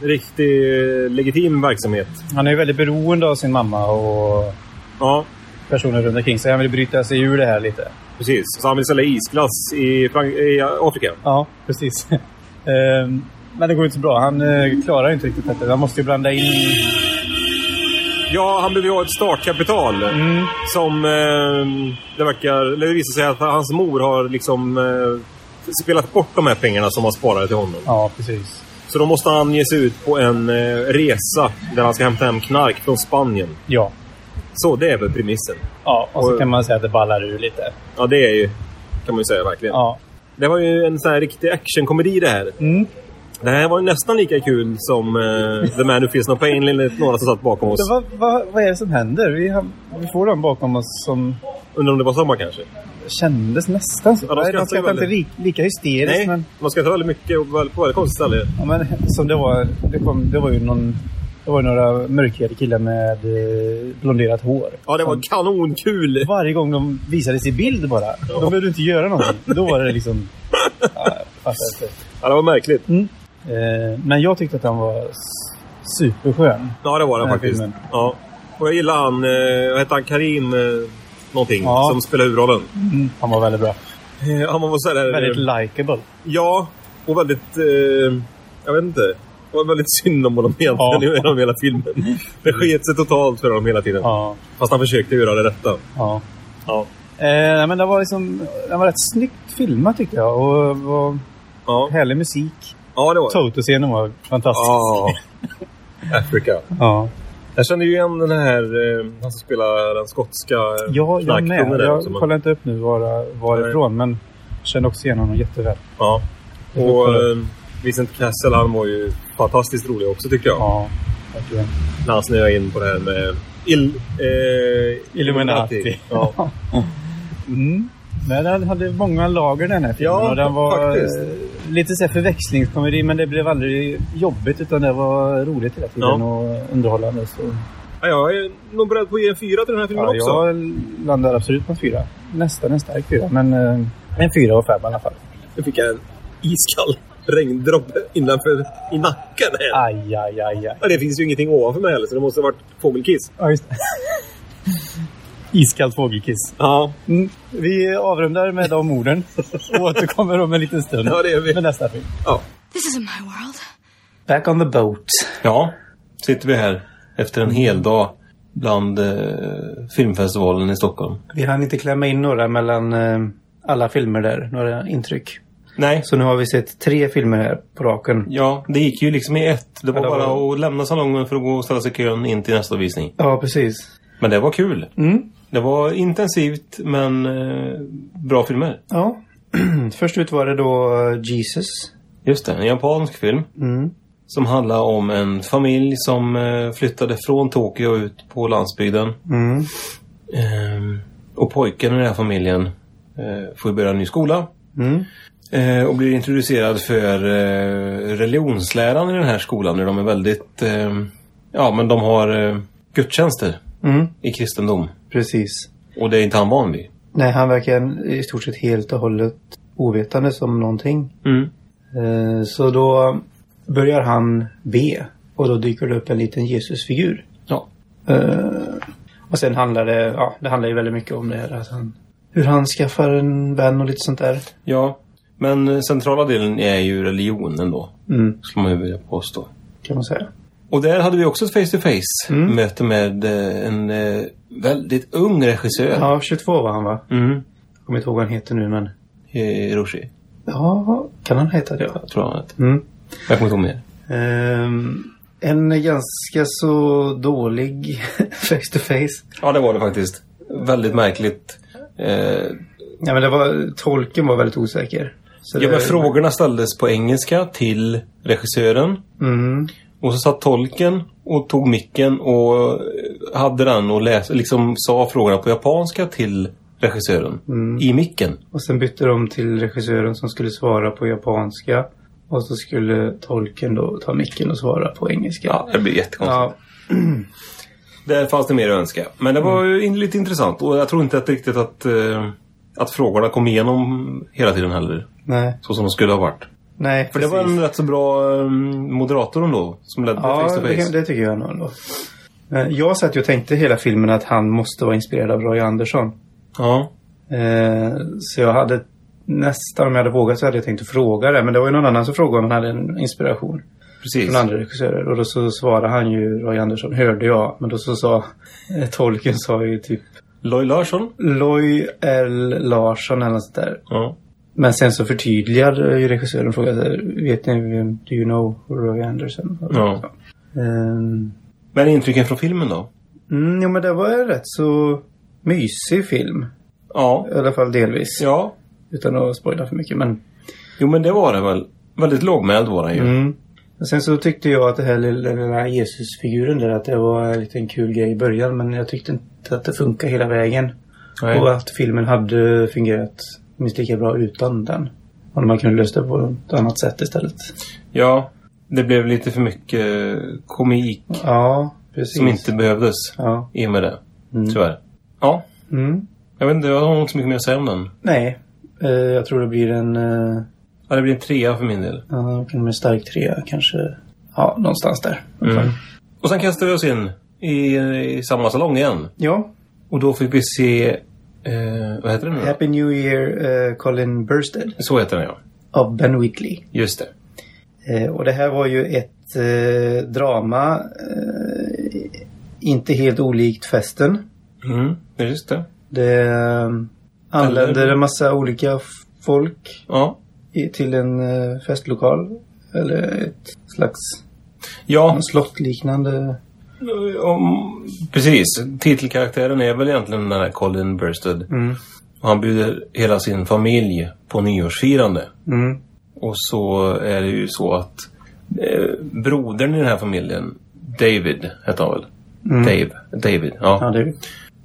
E: riktig eh, legitim verksamhet.
B: Han är ju väldigt beroende av sin mamma och
E: Ja,
B: personer runt omkring sig. Han vill bryta sig ur det här lite.
E: precis. Så han vill sälja isglass i, Frank- i Afrika.
B: Ja, precis. Ehm, men det går inte så bra. Han eh, klarar ju inte riktigt detta. Han måste ju blanda in...
E: Ja, han behöver ju ha ett startkapital.
B: Mm.
E: Som eh, det verkar... Eller det visar sig att hans mor har liksom eh, spelat bort de här pengarna som han sparade till honom.
B: Ja, precis.
E: Så då måste han ge sig ut på en eh, resa där han ska hämta hem knark från Spanien.
B: Ja.
E: Så det är väl premissen.
B: ja och så
E: Och-
B: kan man säga att det ballar ur lite.
E: Ja, det är ju... Kan man ju säga verkligen.
B: Ja.
E: Det var ju en sån här riktig actionkomedi det här.
B: Mm.
E: Det här var ju nästan lika kul som eh, The Man Who Feels No Pain, enligt några som satt bakom
B: Så
E: oss.
B: vad, vad, vad är det som händer? Vi, har, vi får dem bakom oss som...
E: Undrar om det var samma kanske?
B: kändes nästan så.
E: Ja, de
B: Nej,
E: skrattar
B: de
E: ju
B: skrattar inte
E: väldigt.
B: rik- lika hysteriskt.
E: Nej,
B: Men,
E: man ska inte väldigt mycket och väl- på väldigt konstigt ställe.
B: ja, men som det var, det, kom, det var ju någon... Det var ju några mörkhyade killar med eh, blonderat hår.
E: Ja, det var
B: Som-
E: kanonkul!
B: Varje gång de visades i bild bara. Då behövde du inte göra någonting. Då var det liksom... Ja, jag fattar inte.
E: Ja, det var märkligt.
B: Eh, men jag tyckte att han var s- superskön.
E: Ja, det var det
B: Den här
E: faktiskt.
B: filmen.
E: Ja. Och jag gillar han, eh, vad hette han, Karim eh, någonting,
B: Ja.
E: som spelar huvudrollen.
B: Han var väldigt bra.
E: Mm. Eh, Han var så här,
B: Väldigt
E: eh,
B: likeable.
E: Ja, och väldigt... Eh, jag vet inte. Det var väldigt synd om honom egentligen
B: Ja.
E: genom hela filmen. Det sket sig totalt för honom hela tiden.
B: Ja.
E: Fast han försökte göra det rätta.
B: ja.
E: Ja.
B: Eh, nej, men det var liksom... Den var rätt snyggt filmad tyckte jag. Och var
E: Ja,
B: härlig musik.
E: ja det var det.
B: Toto-scenen var fantastisk.
E: Ja. Africa.
B: Ja.
E: Jag känner ju igen den här, eh, han som spelar den skotska eh,
B: Ja, jag med.
E: knarkkungen där
B: Jag
E: också, men-
B: kollar inte upp nu var, varifrån, men kände också igen honom jätteväl.
E: Ja. Och eh, Vincent Cassel, han var ju fantastiskt rolig också tycker jag.
B: Ja, verkligen.
E: När han snöade in på det här med ill, eh,
B: Illuminati.
E: Ja.
B: Mm. Nej, den hade många lager den här filmen.
E: Ja,
B: och den var
E: faktiskt.
B: eh, lite så här förväxlingskomedi, men det blev aldrig jobbigt utan det var roligt hela tiden
E: Ja.
B: och underhållande. Så.
E: Ja, jag är nog beredd på att ge en fyra till den här filmen
B: Ja,
E: också.
B: jag landar absolut på en fyra. Nästan en stark fyra, men eh, en fyra och fem i alla fall.
E: Nu fick jag en iskall regndroppe innanför i nacken. Här.
B: Aj, aj, aj, aj.
E: Ja, det finns ju ingenting ovanför mig heller, så det måste ha varit fågelkiss.
B: Ja, just det. Iskallt fågelkiss.
E: Ja,
B: Mm. Vi avrundar med de orden och återkommer om en liten stund
E: ja det är vi.
B: med nästa film.
G: This isn't my world.
H: Back on the boat.
D: Ja, sitter vi här efter en hel dag bland eh, filmfestivalen i Stockholm.
H: Vi hann inte klämma in några mellan eh, alla filmer där. Några intryck.
D: Nej,
H: Så nu har vi sett tre filmer här på raken.
D: ja, det gick ju liksom i ett. Det var
H: Ja, det
D: bara
H: var-
D: att lämna salongen för att gå och ställa sig i kön in till nästa visning.
H: Ja, precis.
D: Men det var kul.
H: Mm.
D: Det var intensivt, men eh, bra filmer.
H: Ja. Först ut var det då eh, Jesus.
D: Just det, en japansk film.
H: Mm.
D: Som handlar om en familj som eh, flyttade från Tokyo ut på landsbygden.
H: Mm.
D: Ehm, och pojken i den här familjen eh, får ju börja en ny skola.
H: Mm.
D: Eh, och blir introducerad för eh, religionsläran i den här skolan. Där de är väldigt... Eh, ja, men de har eh, gudstjänster
H: Mm.
D: i kristendom.
H: Precis.
D: Och det är inte han van vid.
H: Nej, han verkar i stort sett helt och hållet ovetandes om någonting.
D: Mm.
H: Eh, Så då börjar han be och då dyker det upp en liten Jesusfigur.
D: Ja.
H: Eh, Och sen handlar det, ja, det handlar ju väldigt mycket om det här att han, hur han skaffar en vän och lite sånt där.
D: ja. Men eh, centrala delen är ju religionen då,
H: Mm,
D: skulle man ju vilja påstå.
H: kan man säga.
D: Och där hade vi också ett
H: Mm.
D: face-to-face-möte med eh, en eh, väldigt ung regissör.
H: Ja, 22 var han va?
D: Mm.
H: Jag kommer inte ihåg vad han heter nu men.
D: Hiroshi,
H: Ja, kan han heta det? Ja.
D: eh, tror jag han hette.
H: Mm.
D: Jag kommer inte ihåg mer.
H: Ehm, en ganska så dålig face to face.
D: Ja, det var det faktiskt. Väldigt märkligt. Eh,
H: Ja, men det var, tolken var väldigt osäker. Så
D: ja,
H: det-
D: men frågorna ställdes på engelska till regissören.
H: Mm,
D: Och så satt tolken och tog micken och eh, hade den och läs, liksom sa frågorna på japanska till regissören.
H: Mm.
D: I micken.
H: och sen bytte de till regissören som skulle svara på japanska. Och så skulle tolken då ta micken och svara på engelska.
D: Ja, det blir jättekonstigt.
H: Ja,
D: Där fanns det mer att önska. Men det var
H: Mm.
D: ju in- lite intressant. Och jag tror inte att riktigt att, eh, att frågorna kom igenom hela tiden heller.
H: nej.
D: Så som de skulle ha varit.
H: Nej,
D: För det var en rätt så bra eh, moderator då som ledde face
H: Ja,
D: to
H: det,
D: face.
H: kan- det tycker jag nog ändå. Eh, Jag satt ju och tänkte hela filmen att han måste vara inspirerad av Roy Andersson.
D: Ja.
H: Eh, så jag hade nästan, om jag hade vågat så hade jag tänkt att fråga det. Men det var ju någon annan som frågade om han hade en inspiration.
D: Precis.
H: från andra regissörer. Och då så svarade han ju Roy Andersson, hörde jag. Men då så sa eh, tolken sa ju typ
D: Lloyd Larsson.
H: Loy L. Larsson eller något sånt där.
D: Ja.
H: Men sen så förtydligade ju regissören och frågade så här, vet ni vem, do you know who Roy Andersson?
D: Ja.
H: Ehm,
D: Men intrycken från filmen då?
H: mm, jo men det var en rätt så mysig film.
D: Ja.
H: I alla fall delvis.
D: Ja.
H: Utan att spoila för mycket men.
D: Jo men det var det väl. Väldigt lågmäld var den ju.
H: Mm. Men Sen så tyckte jag att det här lilla, den här Jesusfiguren där att det var en liten kul grej i början men jag tyckte inte att det funkar hela vägen.
D: Nej.
H: Och att filmen hade fungerat minst lika bra utan den. Om man kunde lösa det på ett annat sätt istället.
D: Ja, det blev lite för mycket eh, komik
H: Ja, precis.
D: som inte behövdes
H: Ja.
D: i och med det.
H: Mm.
D: Tyvärr. Ja,
H: Mm.
D: jag vet inte. Jag har inte så mycket mer att säga om den.
H: Nej. Eh, jag tror det blir en... eh,
D: Ja, det blir en trea för min del.
H: Ja, uh, en stark trea kanske. Ja, någonstans där.
D: Mm. Och sen kastade vi oss in i, i samma salong igen.
H: Ja,
D: Och då fick vi se... Eh, vad heter den nu då?
H: Happy New Year eh, Colin Burstead
D: Så heter den ja.
H: av Ben Wheatley.
D: Just det.
H: Eh, och det här var ju ett eh, drama, eh, inte helt olikt festen.
D: Mm, just det.
H: Det eh, anländer en massa olika f- folk
D: Ja.
H: i, till en eh, festlokal. Eller ett slags
D: Ja,
H: Mm. slottliknande...
D: om, precis. Titelkaraktären är väl egentligen den här Colin Burstead.
H: Mm.
D: Och Han bjuder hela sin familj på nyårsfirande.
H: Mm.
D: Och så är det ju så att eh, brodern i den här familjen, David heter han väl? Dave. David, ja.
H: Mm. Ja, det,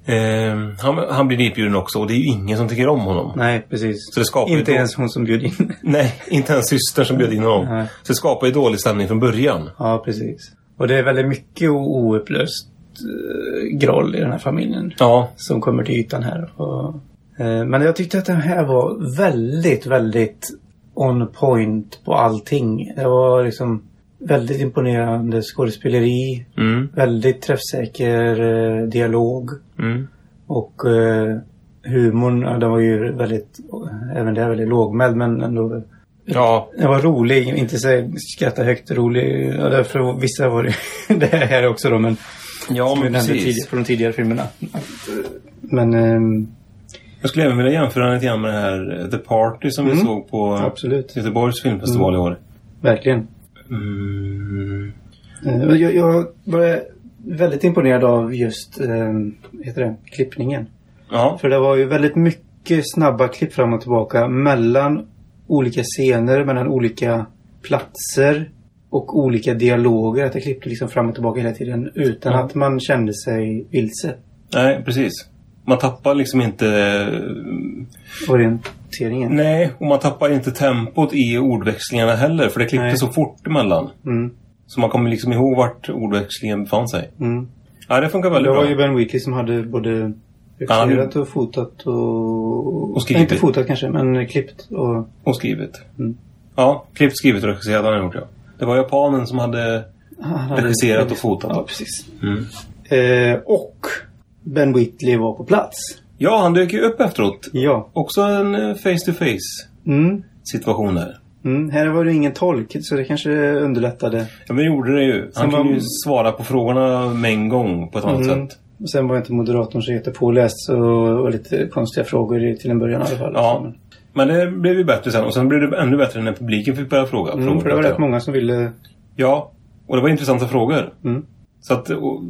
D: Eh, han, han blir ditbjuden också och det är ju ingen som tycker om honom.
H: nej, precis.
D: Så det skapar ju
H: inte
D: då-
H: ens hon som bjöd in.
D: Nej, inte ens systern som bjöd in honom.
H: Nej.
D: Så det skapar ju dålig stämning från början.
H: ja, precis. Och det är väldigt mycket o- oupplöst eh, groll i den här familjen.
D: Ja,
H: som kommer till ytan här. Och, eh, men jag tyckte att den här var väldigt, väldigt on point på allting. Det var liksom väldigt imponerande skådespeleri,
D: Mm.
H: väldigt träffsäker eh, dialog
D: Mm.
H: och eh, humorn, ja, den var ju väldigt, eh, även där väldigt lågmäld men ändå
D: ja,
H: den var rolig, inte så skratta högt rolig. Ja, därför vissa var det, det här också då men
D: ja
H: som vi
D: men
H: nämnde
D: precis.
H: tidigare, från de tidigare filmerna. Men ehm,
D: Jag skulle även vilja jämföra den lite grann med det här eh, The Party som vi såg på eh,
H: Absolut.
D: Göteborgs filmfestival i år.
H: Verkligen.
D: Mm.
H: Eh, Jag, jag var väldigt imponerad av just eh, vad heter det, klippningen.
D: Ja,
H: För det var ju väldigt mycket snabba klipp fram och tillbaka mellan olika scener, mellan olika platser och olika dialoger. Att det klippte liksom fram och tillbaka hela tiden utan att man kände sig vilse.
D: nej, precis. Man tappar liksom inte... eh,
H: Orienteringen.
D: Nej, och man tappar inte tempot i ordväxlingarna heller. För det klippte
H: Nej.
D: så fort emellan.
H: Mm,
D: Så man kommer liksom ihåg vart ordväxlingen befann sig.
H: mm.
D: Ja, det funkar
H: Det
D: väldigt
H: var
D: bra.
H: ju Ben Wheatley som hade både
D: han-
H: regisserat och fotat och...
D: Och skrivit.
H: Nej, inte fotat kanske, men klippt och...
D: Och skrivet.
H: Mm.
D: Ja, klippt, skrivet och regisserat har han gjort, ja. Det var japanen som hade
H: Han hade-
D: regisserat och fotat.
H: Ja, precis.
D: Mm.
H: Eh, och Ben Whitley var på plats.
D: Ja, han dök ju upp efteråt.
H: Ja.
D: Också en face to face
H: Mm.
D: situation där.
H: Mm. Här var det ingen tolk, så det kanske underlättade.
D: Ja, men det gjorde det ju. Han
H: Som
D: kunde
H: var-
D: ju svara på frågorna med en gång på ett annat
H: Mm.
D: sätt.
H: Och Sen var inte moderatorn så jättepåläst, så det var lite konstiga frågor i- till en början i alla fall. Mm,
D: Ja. Men det blev ju bättre sen. Och sen blev det ännu bättre när publiken fick börja fråga.
H: Mm,
D: frågor,
H: för det var
D: pratar
H: rätt
D: jag.
H: många som ville...
D: Ja, och det var intressanta frågor.
H: Mm.
D: Så att... Och,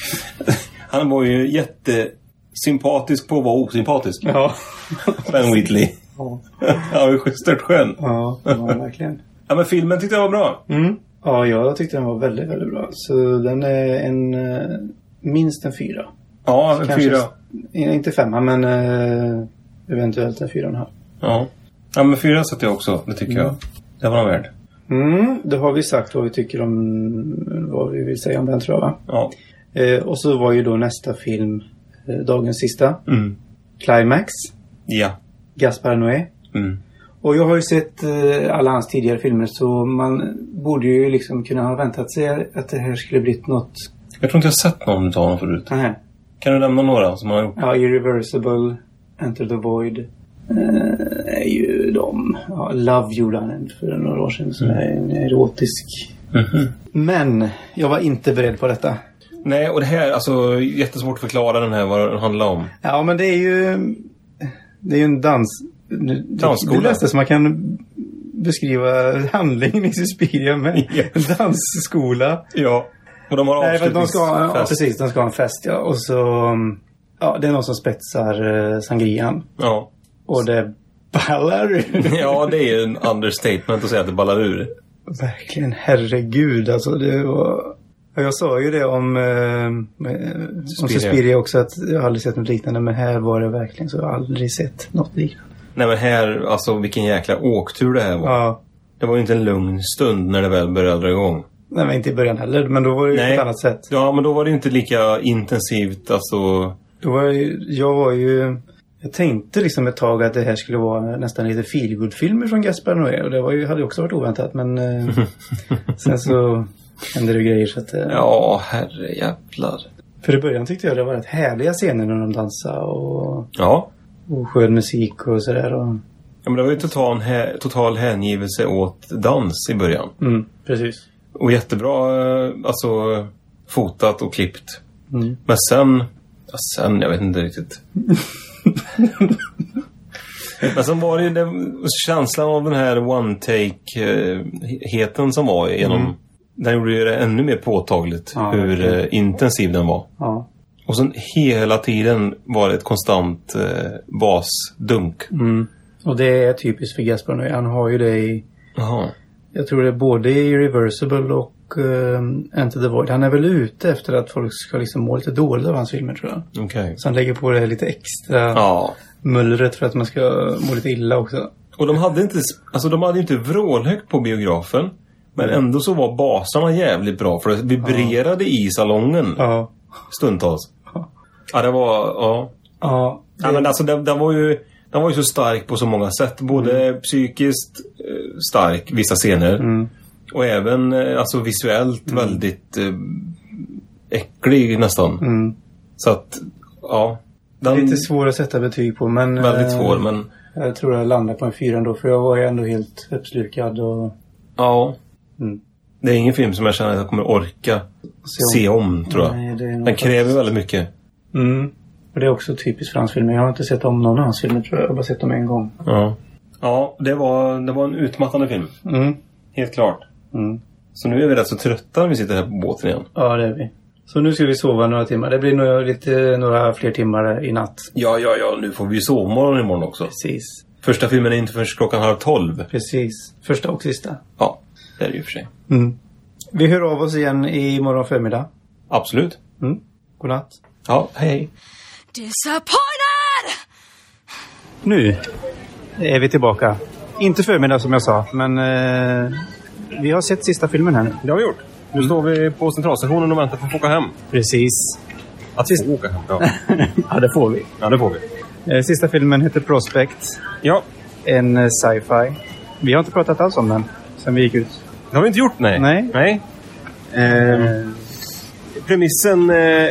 D: han var ju jättesympatisk på att vara osympatisk.
H: Ja.
D: Ben Wheatley.
H: Ja.
D: Han var ju störtskön.
H: Ja, det var det verkligen.
D: Ja, men filmen tyckte jag var bra.
H: Mm. Ja, jag tyckte den var väldigt, väldigt bra. Så den är en... eh, Minst en fyra.
D: Ja, en
H: Kanske-
D: fyra.
H: Eh, Inte femma, men eh, eventuellt en fyra och en halv.
D: Ja. ja, men fyra satte jag också. Det tycker jag. Det var han värd.
H: Mm, då har vi sagt vad vi tycker om vad vi vill säga om den tror jag va?
D: Ja.
H: Eh, och så var ju då nästa film eh, dagens sista.
D: Mm.
H: Climax.
D: Ja.
H: Gaspar Noé.
D: Mm.
H: Och jag har ju sett eh, alla hans tidigare filmer så man borde ju liksom kunna ha väntat sig att det här skulle blivit något.
D: Jag tror inte jag har sett någon utav honom förut.
H: Nähä.
D: Kan du nämna några som han har gjort?
H: Ja, Irreversible, Enter the Void. eh, är ju de. Ja, Love gjorde han en för några år sedan. Så det är en erotisk. Men jag var inte beredd på detta.
D: Nej, och det här, alltså jättesvårt att förklara den här vad den handlar om.
H: Ja, men det är ju... Det är ju en dans... nu-
D: Dansskola.
H: Det läste som man kan beskriva handlingen i Suspiria med.
D: Ja.
H: En dansskola.
D: Ja. Och de har
H: Nej, för att de ska, ha- ja,
D: avslutningsfest.
H: precis, de ska ha en fest, ja. Och så... um, Ja, det är någon som spetsar eh, sangrian.
D: Ja.
H: Och det ballar ur.
D: ja, det är ju en understatement att säga att det ballar ur.
H: Verkligen, herregud alltså. Det var... Ja, Jag sa ju det om, eh, eh, om Suspiria också, att jag aldrig sett något liknande. Men här var det verkligen så. Jag har aldrig sett något liknande.
D: Nej men här, alltså vilken jäkla åktur det här var.
H: Ja.
D: Det var ju inte en lugn stund när det väl började dra igång.
H: Nej, men inte i början heller. Men då var det ju på
D: Nej.
H: ett annat sätt.
D: Ja, men då var det ju inte lika intensivt alltså.
H: Då var jag, ju- jag var ju... Jag tänkte liksom ett tag att det här skulle vara nästan lite feelgood-filmer från Gaspar Noé. Och det var ju, hade ju också varit oväntat. Men eh, sen så hände det grejer. Så att, eh,
D: Ja, herrejävlar.
H: För i början tyckte jag det var rätt härliga scener när de dansade och,
D: Ja.
H: och skön musik och sådär. Och,
D: ja, men det var ju total, hä- total hängivelse åt dans i början.
H: mm, precis.
D: Och jättebra eh, alltså fotat och klippt.
H: Mm.
D: Men sen, ja, sen, jag vet inte riktigt. Men sen var det ju den, känslan av den här one take-heten som var genom... Den gjorde ju det ännu mer påtagligt
H: Mm. Ja,
D: hur eh, intensiv den var.
H: Ja.
D: Och sen hela tiden var det ett konstant eh, basdunk.
H: Mm. Och det är typiskt för Gaspar Noé. Han har ju det i,
D: Jaha.
H: jag tror det är både i Reversible och um, Enter the Void. Han är väl ute efter att folk ska liksom må lite dåligt av hans filmer tror jag.
D: Okej.
H: Så han lägger på det här lite extra
D: Ja.
H: mullret för att man ska må lite illa också.
D: Och de hade inte, alltså de hade ju inte vrålhögt på biografen. Men
H: Mm.
D: ändå så var basarna jävligt bra för det vibrerade i salongen
H: Ja.
D: stundtals.
H: Ja.
D: Ja, det var, ja.
H: Ja.
D: ja men alltså den, den var ju, den var ju så stark på så många sätt. Både
H: Mm.
D: psykiskt eh, stark, vissa scener. Och även eh, alltså visuellt väldigt eh, äcklig nästan.
H: Mm.
D: Så att, ja. Den,
H: Lite svår att sätta betyg på men...
D: Mm. väldigt
H: eh,
D: svår men,
H: Jag tror jag landar på en fyra ändå för jag var ju ändå helt uppslukad och...
D: ja.
H: Mm.
D: Det är ingen film som jag känner att jag kommer orka se om, tror jag.
H: Nej, det är
D: Den
H: något-
D: kräver väldigt mycket.
H: Mm. Och det är också typiskt för hans filmer. Jag har inte sett om någon av hans filmer tror jag. Jag har bara sett dem en gång.
D: Ja. Ja, det var, det var en utmattande film.
H: Mm.
D: Helt klart.
H: Mm.
D: Så nu är vi rätt så trötta när vi sitter här på båten igen.
H: Ja, det är vi. Så nu ska vi sova några timmar. Det blir nog lite, några fler timmar i natt.
D: Ja, ja, ja. Nu får vi ju sovmorgon imorgon också.
H: Precis.
D: Första filmen är inte förrän klockan halv tolv.
H: Precis. Första och sista.
D: Ja, det är det ju för sig.
H: Mm. Vi hör av oss igen i morgon förmiddag.
D: Absolut.
H: Mm. Godnatt.
D: Ja, hej, hej.
G: Disappointed!
H: Nu.
B: är vi tillbaka. Inte förmiddag som jag sa, men eh, vi har sett sista filmen här nu. Mm.
E: Det har vi gjort. Nu står vi på centralstationen och väntar på att få åka hem.
B: Precis.
E: Att få åka hem, ja.
B: Ja, det får vi.
E: ja, det får vi.
B: Eh, Sista filmen heter Prospect.
E: Ja,
B: En eh, sci-fi. Vi har inte pratat alls om den sen vi gick ut.
E: det har vi inte gjort, nej.
B: Nej.
E: nej.
B: Eh,
E: Premissen eh,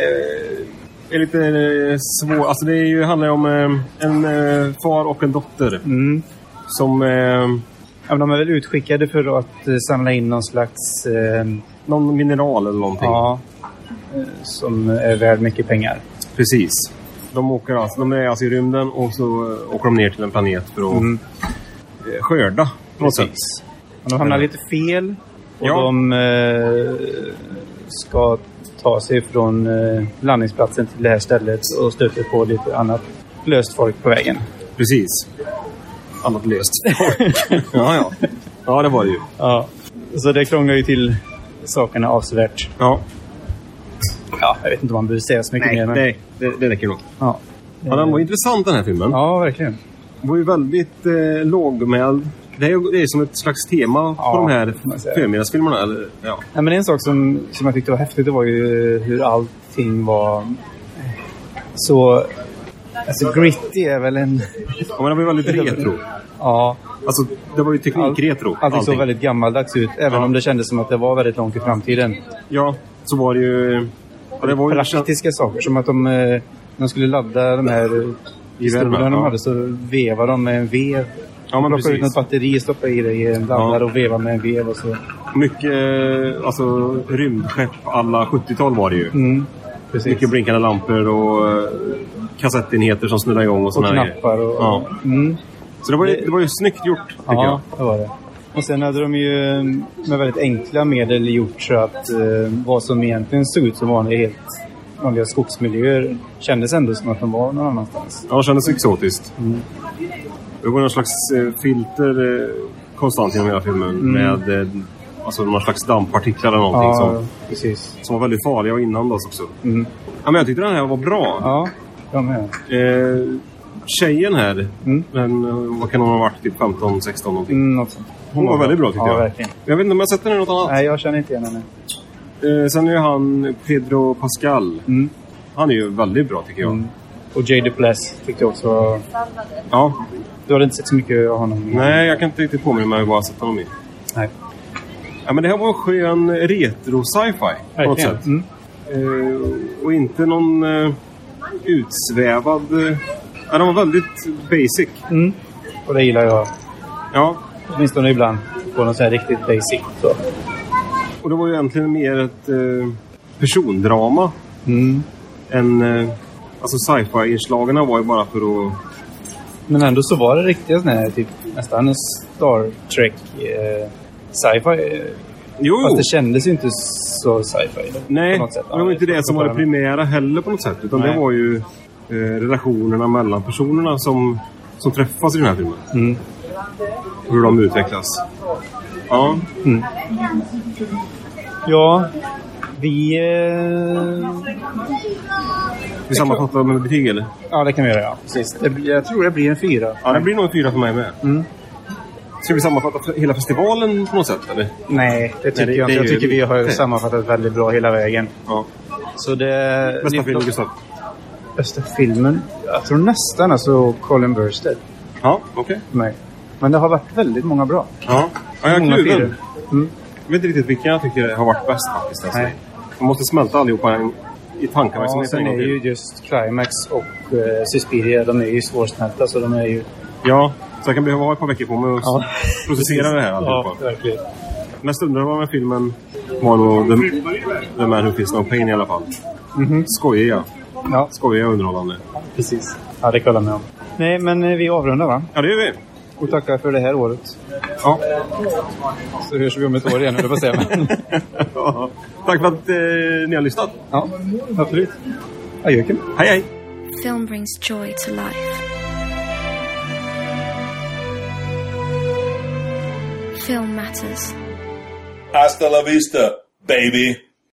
E: är lite eh, svår. Alltså det är ju, handlar ju om eh, en eh, far och en dotter
B: Mm.
E: som... Eh,
B: Ja, men de är väl utskickade för att eh, samla in någon slags... Eh,
E: någon mineral eller någonting.
B: ja. eh, Som är värd mycket pengar.
E: Precis. De, åker alltså, de är alltså i rymden och så eh, åker de ner till en planet för att
B: Mm.
E: eh, skörda på något sätt.
B: Men de hamnar lite fel. Och
E: Ja.
B: de eh, ska ta sig från eh, landningsplatsen till det här stället och stöter på lite annat löst folk på vägen.
E: Precis. Annat löst. ja, ja. Ja, det var det ju.
B: Ja. Så det krånglar ju till sakerna avsevärt.
E: Ja.
B: Ja, jag vet inte om man behöver säga så mycket mer. Men...
E: nej det, det räcker nog.
B: Ja.
E: Ja, den var intressant den här filmen.
B: ja, verkligen.
E: Den var ju väldigt eh, lågmäld. Det är, ju- det är som ett slags tema
B: Ja,
E: på de här
B: kan man säga.
E: förmiddagsfilmerna. Eller, ja.
B: Nej, men en sak som, som jag tyckte var häftigt det var ju hur allting var så... Alltså gritty är väl en...
E: ja, men det var ju väldigt retro.
B: Ja,
E: Alltså, det var ju teknikretro.
B: allting såg väldigt gammaldags ut. Även om det kändes som att det var väldigt långt i framtiden.
E: Ja, så var det ju... Ja, det var ju
B: Praktiska saker som att de, eh, de skulle ladda de här pistolerna
E: Gevären,
B: de
E: ja.
B: hade så vevade de med en vev.
E: Ja, men
B: Plocka ut
E: precis.
B: något batteri, stoppa i det i en laddare
E: Ja.
B: och veva med en vev och så.
E: Mycket eh, alltså, rymdskepp alla 70-tal var det ju.
B: Mm, precis.
E: Mycket blinkande lampor och eh, kassettenheter som snurrar igång och
B: och
E: sådana
B: knappar och...
E: Ja.
B: Mm.
E: Så det var, ju, det var ju snyggt gjort, tycker
B: Ja, det var det. Och sen hade de ju eh, med väldigt enkla medel gjort så att eh, vad som egentligen såg ut som vanliga, helt vanliga skogsmiljöer kändes ändå som att de var någon annanstans.
E: jag. Ja, det kändes exotiskt.
B: Mm.
E: Det var någon slags eh, filter eh, konstant genom hela filmen med eh,
D: Alltså någon slags dammpartiklar eller någonting
B: Mm. Ja,
D: som,
B: precis.
D: som var väldigt farliga och inandas också.
B: Mm.
D: Ja, men jag tyckte den här var bra.
B: Ja, jag med.
D: Eh, tjejen här,
B: Mm.
D: men, eh, vad kan hon ha varit? Typ 15, 16 någonting.
B: Mm, något sånt.
D: Hon var väldigt bra tyckte
B: ja,
D: jag.
B: verkligen.
D: Jag vet inte om jag har sett henne i något annat.
B: Nej, jag känner inte igen henne.
D: Eh, sen är ju han Pedro Pascal.
B: Mm.
D: Han är ju väldigt bra tycker jag.
B: Mm. Och Jade Pless tyckte jag också var-
D: Ja.
B: Du hade inte sett så mycket av honom?
D: Nej, jag kan inte riktigt påminna mig vad jag har sett honom i.
B: Nej.
D: Ja, men det här var en skön retro-sci-fi på något
B: Verkligen.
D: sätt.
B: Mm.
D: Eh, och inte någon eh, utsvävad... Eh, ja, den var väldigt basic.
B: Mm. Och det gillar jag.
D: Ja,
B: Åtminstone ibland. På något så här riktigt basic. Så.
D: och det var ju egentligen mer ett eh, persondrama
B: Mm.
D: än... Eh, alltså sci-fi-inslagen var ju bara för att...
B: Men ändå så var det riktigt sån här, typ, nästan en Star Trek eh, sci-fi. eh.
D: Jo,
B: Fast det kändes ju inte så sci-fi. då,
D: Nej,
B: på något sätt.
D: men det var
B: Ja,
D: inte det som var det primära heller på något sätt. Utan
B: Nej.
D: det var ju eh, relationerna mellan personerna som, som träffas i den här filmen.
B: Mm.
D: Hur de utvecklas. Ja,
B: Mm. Ja, vi... Eh,
D: vi sammanfattar med betyg eller?
B: ja, det kan vi göra. Ja. Precis. Det, blir- jag tror det blir en fyra.
D: Ja, det blir nog en fyra för mig med.
B: Mm.
D: Ska vi sammanfatta hela festivalen på något sätt eller?
B: Nej, det tycker
D: det-
B: jag
D: det
B: inte.
D: är
B: Jag
D: ju-
B: tycker vi har sammanfattat väldigt bra hela vägen.
D: Ja.
B: Så det...
D: Bästa film Gustav?
B: Bästa filmen? Jag tror nästan alltså Colin Burstead
D: Ja, okej.
B: för mig. Men det har varit väldigt många bra.
D: Ja. ja, jag är
B: Många
D: kluven.
B: fyror. Mm.
D: Jag vet inte riktigt vilken jag tycker har varit bäst faktiskt. Alltså.
B: Nej.
D: Man måste smälta allihopa en- i
B: Ja,
D: tankeverksamheten
B: sen
D: en
B: är
D: gång till.
B: ju just Climax och eh, Suspiria, de är ju svårsmälta så de är ju...
D: Ja, så jag kan behöva ha ett par veckor på mig att
B: Ja.
D: processera det här allihopa.
B: Ja, verkligen.
D: Mest underbara med filmen var nog The, The Man Who Feels No Pain i alla fall.
B: Mhm.
D: Skojiga.
B: Ja,
D: Skojiga och underhållande.
B: precis. Ja, det kollar jag med om. Nej, men eh, vi avrundar va?
D: Ja, det gör vi.
B: Och tackar för det här året.
D: Ja.
B: Så hörs vi om ett år igen, höll jag på att säga. Men,
D: Ja. Tack för att eh, ni har lyssnat.
B: ja, absolut. Adjöken.
D: Hej, hej!
G: Film brings joy to life. Film matters.
I: Hasta la vista, baby.